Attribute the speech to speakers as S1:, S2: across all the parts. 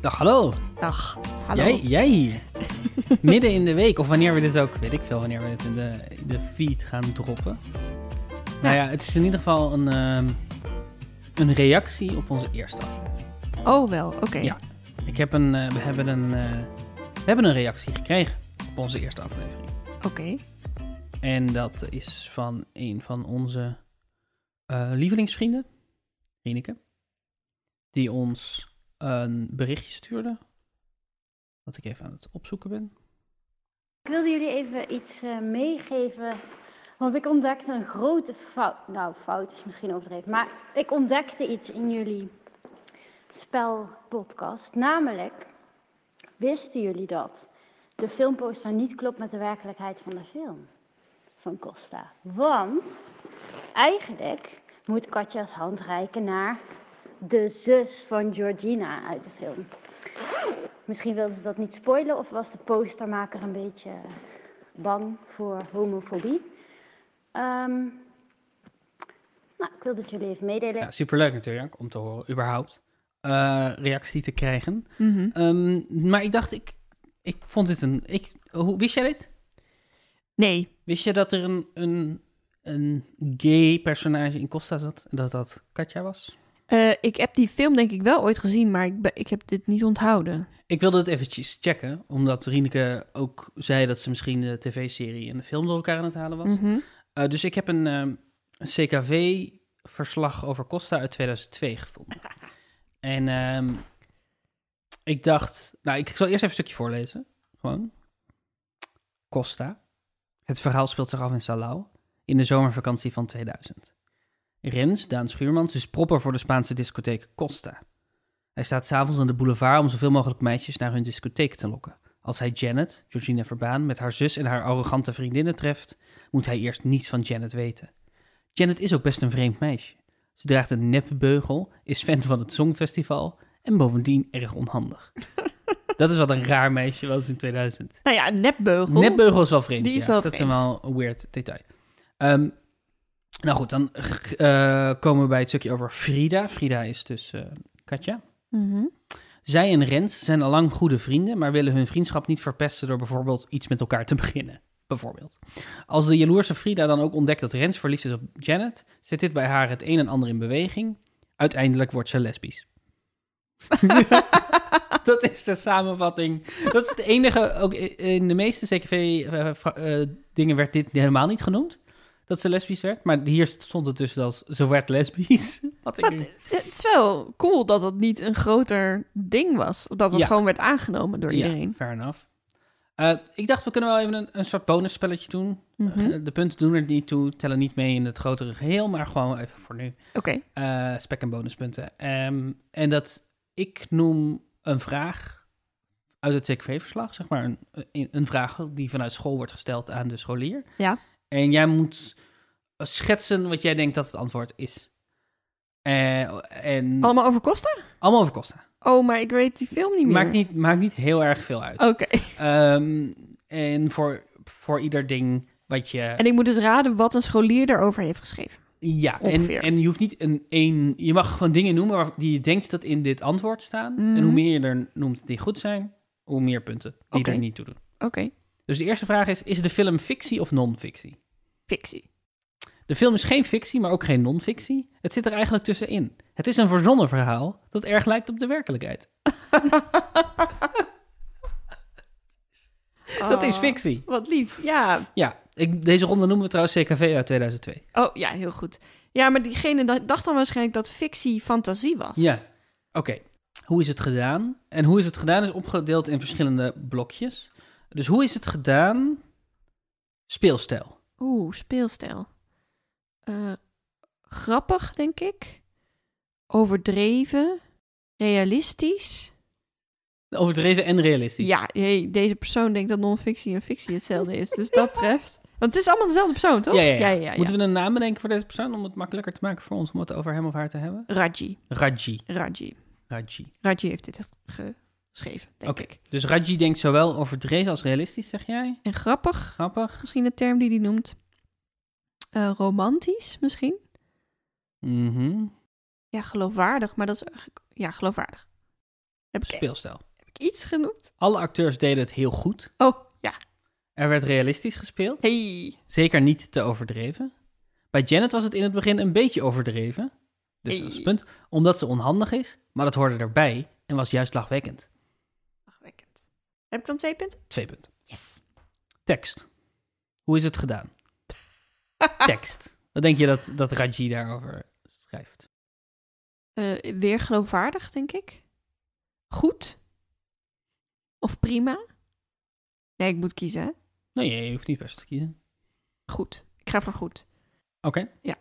S1: Dag, hallo.
S2: Dag, hallo.
S1: Jij, jij hier. Midden in de week, of wanneer we dit ook, weet ik veel, wanneer we dit in de, in de feed gaan droppen. Nou ja, het is in ieder geval een, ehm, een reactie op onze eerste aflevering.
S2: Oh wel, oké.
S1: Ja. Ik heb een, eh, we, hebben een, eh, we hebben een reactie gekregen op onze eerste aflevering.
S2: Oké.
S1: En dat is van een van onze eh, lievelingsvrienden, Rieneke, die ons een berichtje stuurde. Dat ik even aan het opzoeken ben.
S3: Ik wilde jullie even iets eh, meegeven, want ik ontdekte een grote fout. Nou, fout is misschien overdreven, maar ik ontdekte iets in jullie spelpodcast. Namelijk, wisten jullie dat de filmposter niet klopt met de werkelijkheid van de film van Costa? Want eigenlijk moet Katja's hand reiken naar de zus van Georgina uit de film. Misschien wilden ze dat niet spoilen of was de postermaker een beetje bang voor homofobie. Ehm, nou, ik wil dat jullie even meedelen.
S1: Ja, superleuk natuurlijk om te horen, überhaupt, eh, reactie te krijgen.
S2: Mhm.
S1: Ehm, maar ik dacht, ik, ik vond dit een... Ik, hoe, wist jij dit?
S2: Nee,
S1: Wist je dat er een, een, een gay personage in Costa zat? En dat dat Katja was?
S2: Eh, ik heb die film denk ik wel ooit gezien, maar ik, be- ik heb dit niet onthouden.
S1: Ik wilde het eventjes checken, omdat Rieneke ook zei dat ze misschien de tv-serie en de film door elkaar aan het halen was.
S2: Mhm.
S1: Eh, dus ik heb een, ehm, een CKV-verslag over Costa uit 2002 gevonden. en ehm, ik dacht, nou, ik zal eerst even een stukje voorlezen. Gewoon. Costa. Het verhaal speelt zich af in Salau in de zomervakantie van 2000. Rens, Daan Schuurmans, is propper voor de Spaanse discotheek Costa. Hij staat s'avonds aan de boulevard om zoveel mogelijk meisjes naar hun discotheek te lokken. Als hij Janet, Georgina Verbaan, met haar zus en haar arrogante vriendinnen treft, moet hij eerst niets van Janet weten. Janet is ook best een vreemd meisje. Ze draagt een nepbeugel, is fan van het Songfestival en bovendien erg onhandig. Dat is wat een raar meisje was in 2000.
S2: Nou ja, een nepbeugel.
S1: Nepbeugel is wel vreemd.
S2: Die is
S1: ja.
S2: wel
S1: Dat is
S2: vreemd.
S1: wel een weird detail. Ehm, nou goed, dan eh, komen we bij het stukje over Frida. Frida is dus eh, Katja.
S2: Mhm.
S1: Zij en Rens zijn al lang goede vrienden, maar willen hun vriendschap niet verpesten door bijvoorbeeld iets met elkaar te beginnen. Bijvoorbeeld. Als de jaloerse Frida dan ook ontdekt dat Rens verliefd is op Janet, zet dit bij haar het een en ander in beweging. Uiteindelijk wordt ze lesbisch. dat is de samenvatting. Dat is het enige, ook i- in de meeste eh, CKV-dingen werd dit helemaal niet genoemd. Dat ze lesbisch werd, maar hier stond het dus als ze werd lesbisch. Had ik nu.
S2: Het is wel cool dat het niet een groter ding was. Dat het
S1: Ja.
S2: gewoon werd aangenomen door
S1: Ja,
S2: iedereen.
S1: fair enough. Eh, ik dacht, we kunnen wel even een, een soort bonusspelletje doen.
S2: Mhm.
S1: Eh, de punten doen er niet toe, tellen niet mee in het grotere geheel, maar gewoon even voor nu.
S2: Oké.
S1: Eh, spek en bonuspunten. Ehm, en dat ik noem een vraag uit het CKV-verslag, zeg maar een, een, een vraag die vanuit school wordt gesteld aan de scholier.
S2: Ja.
S1: En jij moet schetsen wat jij denkt dat het antwoord is. Eh, en
S2: Allemaal over Costa?
S1: allemaal over kosten.
S2: Oh, maar ik weet die film niet meer. Oh,
S1: Maakt niet, maakt niet heel erg veel uit.
S2: Oké.
S1: Ehm, en voor, voor ieder ding wat je.
S2: En ik moet dus raden wat een scholier daarover heeft geschreven.
S1: ja, en,
S2: ongeveer.
S1: en je hoeft niet een, een. Je mag gewoon dingen noemen waar- die je denkt dat in dit antwoord staan.
S2: Mhm.
S1: En hoe meer je er noemt die goed zijn, hoe meer punten die
S2: Oké.
S1: er niet toe doen.
S2: Oké.
S1: Dus de eerste vraag is: is de film fictie of non-fictie?
S2: Fictie.
S1: De film is geen fictie, maar ook geen non-fictie. Het zit er eigenlijk tussenin. Het is een verzonnen verhaal dat erg lijkt op de werkelijkheid. Dat is
S2: Oh,
S1: fictie.
S2: Wat lief. Ja,
S1: Ja, ik, deze ronde noemen we trouwens CKV uit 2002.
S2: Oh ja, heel goed. Ja, maar diegene da- dacht dan waarschijnlijk dat fictie fantasie was.
S1: Ja, oké. Hoe is het gedaan? En hoe is het gedaan is opgedeeld in verschillende blokjes. Dus hoe is het gedaan? Speelstijl.
S2: Oeh, speelstijl. Eh, grappig, denk ik. Overdreven. Realistisch.
S1: Overdreven en realistisch.
S2: Ja, hey, deze persoon denkt dat non-fictie en fictie hetzelfde is. Dus dat treft. Want het is allemaal dezelfde persoon, toch?
S1: Ja, ja, ja.
S2: ja, ja.
S1: Moeten we een naam bedenken voor deze persoon om het makkelijker te maken voor ons om het over hem of haar te hebben?
S2: Raji.
S1: Raji.
S2: Raji.
S1: Raji.
S2: Raji heeft dit ge- geschreven, denk
S1: Oké.
S2: ik.
S1: Dus Raji denkt zowel overdreven als realistisch, zeg jij?
S2: En grappig,
S1: Grappig.
S2: misschien de term die hij noemt. Eh, romantisch, misschien.
S1: Mhm.
S2: Ja, geloofwaardig, maar dat is eigenlijk... Ja, geloofwaardig. Heb ik,
S1: speelstijl.
S2: heb ik iets genoemd?
S1: Alle acteurs deden het heel goed.
S2: Oh, ja.
S1: Er werd realistisch gespeeld.
S2: Hey.
S1: Zeker niet te overdreven. Bij Janet was het in het begin een beetje overdreven. Dus
S2: Hey.
S1: dat is het punt. Omdat ze onhandig is, maar dat hoorde erbij en was juist lachwekkend.
S2: Lachwekkend. Heb ik dan twee punten?
S1: Twee punten.
S2: Yes.
S1: Tekst. Hoe is het gedaan? Tekst. Wat denk je dat, dat Raji daarover schrijft?
S2: Eh, weer geloofwaardig, denk ik. Goed. Of prima. Nee, ik moet kiezen, hè?
S1: Nee, je hoeft niet best te kiezen.
S2: Goed. Ik ga voor goed.
S1: Oké.
S2: Ja.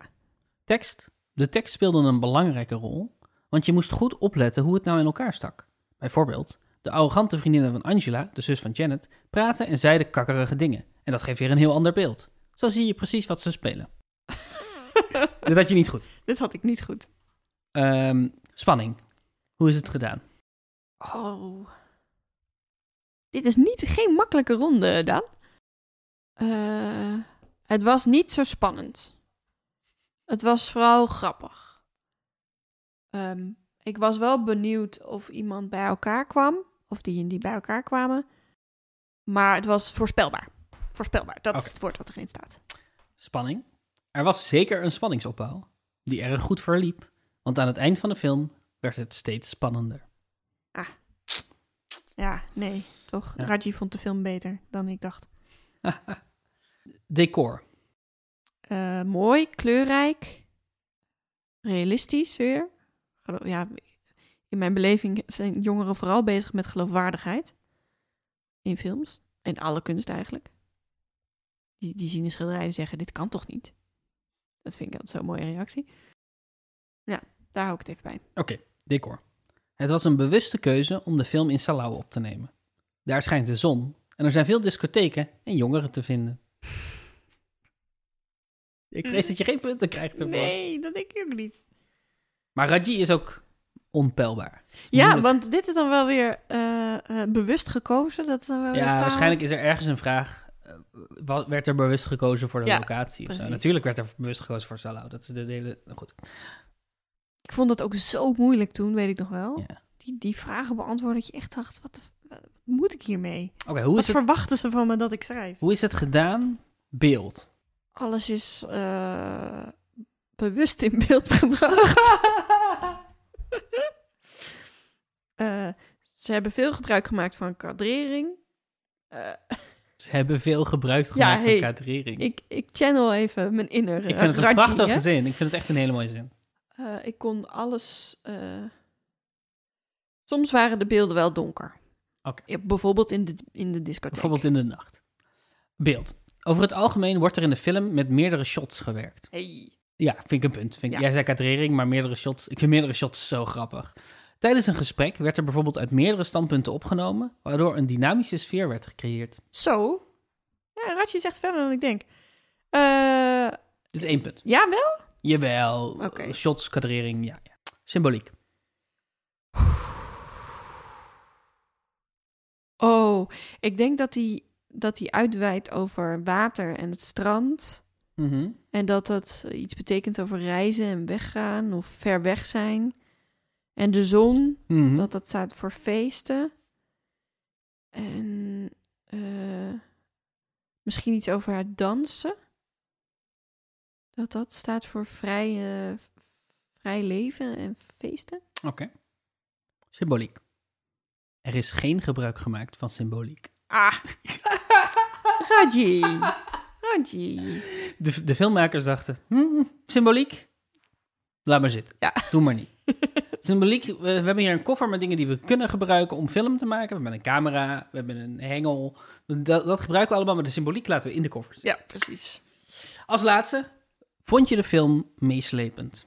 S1: Tekst. De tekst speelde een belangrijke rol, want je moest goed opletten hoe het nou in elkaar stak. Bijvoorbeeld, de arrogante vriendinnen van Angela, de zus van Janet, praten en zeiden kakkerige dingen. En dat geeft weer een heel ander beeld. Zo zie je precies wat ze spelen. Dit had je niet goed.
S2: Dit had ik niet goed.
S1: Ehm, spanning. Hoe is het gedaan?
S2: Oh. Dit is niet, geen makkelijke ronde, Daan. Eh, het was niet zo spannend. Het was vooral grappig. Ehm, ik was wel benieuwd of iemand bij elkaar kwam. Of die en die bij elkaar kwamen. Maar het was voorspelbaar. Voorspelbaar, dat
S1: Oké.
S2: is het woord wat erin staat.
S1: Spanning. Er was zeker een spanningsopbouw, die erg goed verliep, want aan het eind van de film werd het steeds spannender.
S2: Ja, nee, toch.
S1: Ja.
S2: Raji vond de film beter dan ik dacht.
S1: Decor.
S2: Eh, mooi, kleurrijk, realistisch weer. Gelo- Ja, in mijn beleving zijn jongeren vooral bezig met geloofwaardigheid in films. In alle kunst eigenlijk. Die, die zien een schilderij en zeggen, dit kan toch niet? Dat vind ik altijd zo'n mooie reactie. Ja, daar hou ik het even bij.
S1: Oké, decor. Het was een bewuste keuze om de film in Salau op te nemen. Daar schijnt de zon en er zijn veel discotheken en jongeren te vinden. Ik vrees dat je geen punten krijgt ervoor.
S2: Nee, dat denk ik ook niet.
S1: Maar Raji is ook onpeilbaar. Het is
S2: Ja,
S1: moeilijk.
S2: want dit is dan wel weer eh, eh, bewust gekozen. Dat is dan wel weer
S1: ja
S2: taal.
S1: waarschijnlijk is er ergens een vraag. eh, wa- werd er bewust gekozen voor de
S2: Ja,
S1: locatie? Of zo.
S2: precies.
S1: Natuurlijk werd er bewust gekozen voor Salau. Dat is de hele. nou Goed.
S2: Ik vond dat ook zo moeilijk toen, weet ik nog wel.
S1: Ja.
S2: Die, die vragen beantwoorden dat je echt dacht, wat, de f- wat moet ik hiermee?
S1: Oké, hoe,
S2: Wat
S1: is het-
S2: verwachten ze van me dat ik schrijf?
S1: hoe is het gedaan? Beeld.
S2: Alles is eh, bewust in beeld gebracht. Eh, ze hebben veel gebruik gemaakt van kadrering. Eh,
S1: Ze hebben veel gebruikt
S2: Ja,
S1: gemaakt
S2: hey,
S1: van kadrering.
S2: ik, ik channel even mijn inner
S1: Ik vind
S2: eh,
S1: het een
S2: Raji,
S1: prachtig
S2: hè.
S1: gezin. Ik vind het echt een hele mooie zin.
S2: Eh, ik kon alles. eh, Soms waren de beelden wel donker.
S1: Oké.
S2: Ja, bijvoorbeeld in de, in de discotheek.
S1: Bijvoorbeeld in de nacht. Beeld. Over het algemeen wordt er in de film met meerdere shots gewerkt.
S2: Hey.
S1: Ja, vind ik een punt. Vind ik,
S2: Ja.
S1: Jij zei kadrering, maar meerdere shots. Ik vind meerdere shots zo grappig. Tijdens een gesprek werd er bijvoorbeeld uit meerdere standpunten opgenomen, waardoor een dynamische sfeer werd gecreëerd.
S2: Zo. Ja, Ratje is echt verder dan ik denk. Eh,
S1: Dit is één punt.
S2: ja, wel?
S1: Jawel.
S2: Oké.
S1: Shots, kadrering, ja, ja. Symboliek.
S2: Oh, ik denk dat hij dat die uitweidt over water en het strand.
S1: Mhm.
S2: En dat dat iets betekent over reizen en weggaan of ver weg zijn. En de zon.
S1: Mhm.
S2: Dat dat staat voor feesten. En eh, misschien iets over haar dansen. Dat dat staat voor vrij, eh, v- vrij leven en feesten.
S1: Oké. Symboliek. Er is geen gebruik gemaakt van symboliek.
S2: Ah! Raji! Raji!
S1: De, de filmmakers dachten, "Hmm, symboliek? Laat maar zitten.
S2: Ja.
S1: Doe maar niet. symboliek, we, we hebben hier een koffer met dingen die we kunnen gebruiken om film te maken. We hebben een camera, we hebben een hengel. Dat, dat gebruiken we allemaal, maar de symboliek laten we in de koffer zitten.
S2: Ja, precies.
S1: Als laatste, vond je de film meeslepend?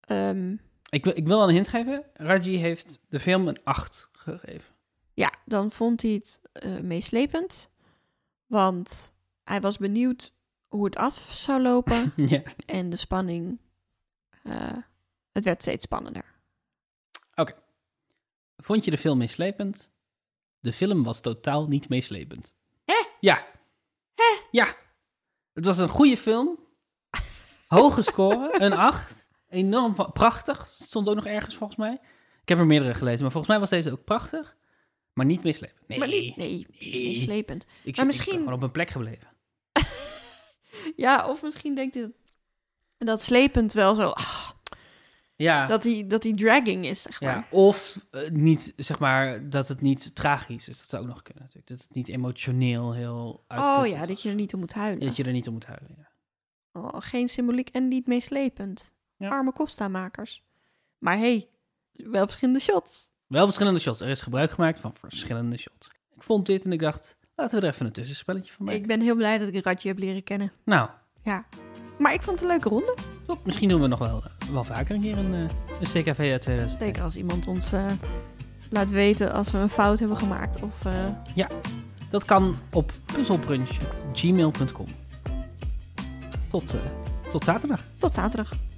S2: Ehm,
S1: Ik, wil- ik wil wel een hint geven. Raji heeft de film een 8 gegeven.
S2: ja, dan vond hij het eh, meeslepend. Want hij was benieuwd hoe het af zou lopen.
S1: ja.
S2: en de spanning. eh, het werd steeds spannender.
S1: Vond je de film meeslepend? De film was totaal niet meeslepend.
S2: Hè?
S1: Ja.
S2: Hè?
S1: Ja. Het was een goede film. Hoge score, een 8. Enorm wa- prachtig. Stond ook nog ergens volgens mij. Ik heb er meerdere gelezen, maar volgens mij was deze ook prachtig, maar niet meeslepend. Nee,
S2: Maar niet, nee,
S1: Nee.
S2: niet slepend.
S1: Ik, ben
S2: misschien-
S1: gewoon op mijn plek gebleven.
S2: Ja, of misschien denkt hij dat, dat slepend wel zo... ah,
S1: Ja,
S2: dat, die, dat die dragging is, zeg maar.
S1: ja. of eh, niet, zeg maar, dat het niet tragisch is. Dat zou ook nog kunnen natuurlijk. Dat het niet emotioneel heel
S2: oh
S1: uitputtend
S2: ja, dat
S1: was.
S2: je er niet om moet huilen.
S1: Dat je er niet om moet huilen, ja.
S2: Oh, geen symboliek en niet meeslepend.
S1: Ja.
S2: Arme Costa-makers. Maar hey, wel verschillende shots.
S1: Wel verschillende shots. Er is gebruik gemaakt van verschillende shots. Ik vond dit en ik dacht, laten we er even een tussenspelletje van maken.
S2: Ik ben heel blij dat ik Radje heb leren kennen.
S1: Nou,
S2: Ja. Maar ik vond het een leuke ronde.
S1: top. misschien doen we nog wel, eh, wel vaker een keer een, eh, een CKV uit 2000.
S2: Zeker als iemand ons eh, laat weten als we een fout hebben gemaakt. Of eh,
S1: Dat kan op puzzelbrunch.gmail.com. Tot, eh, tot zaterdag.
S2: tot zaterdag.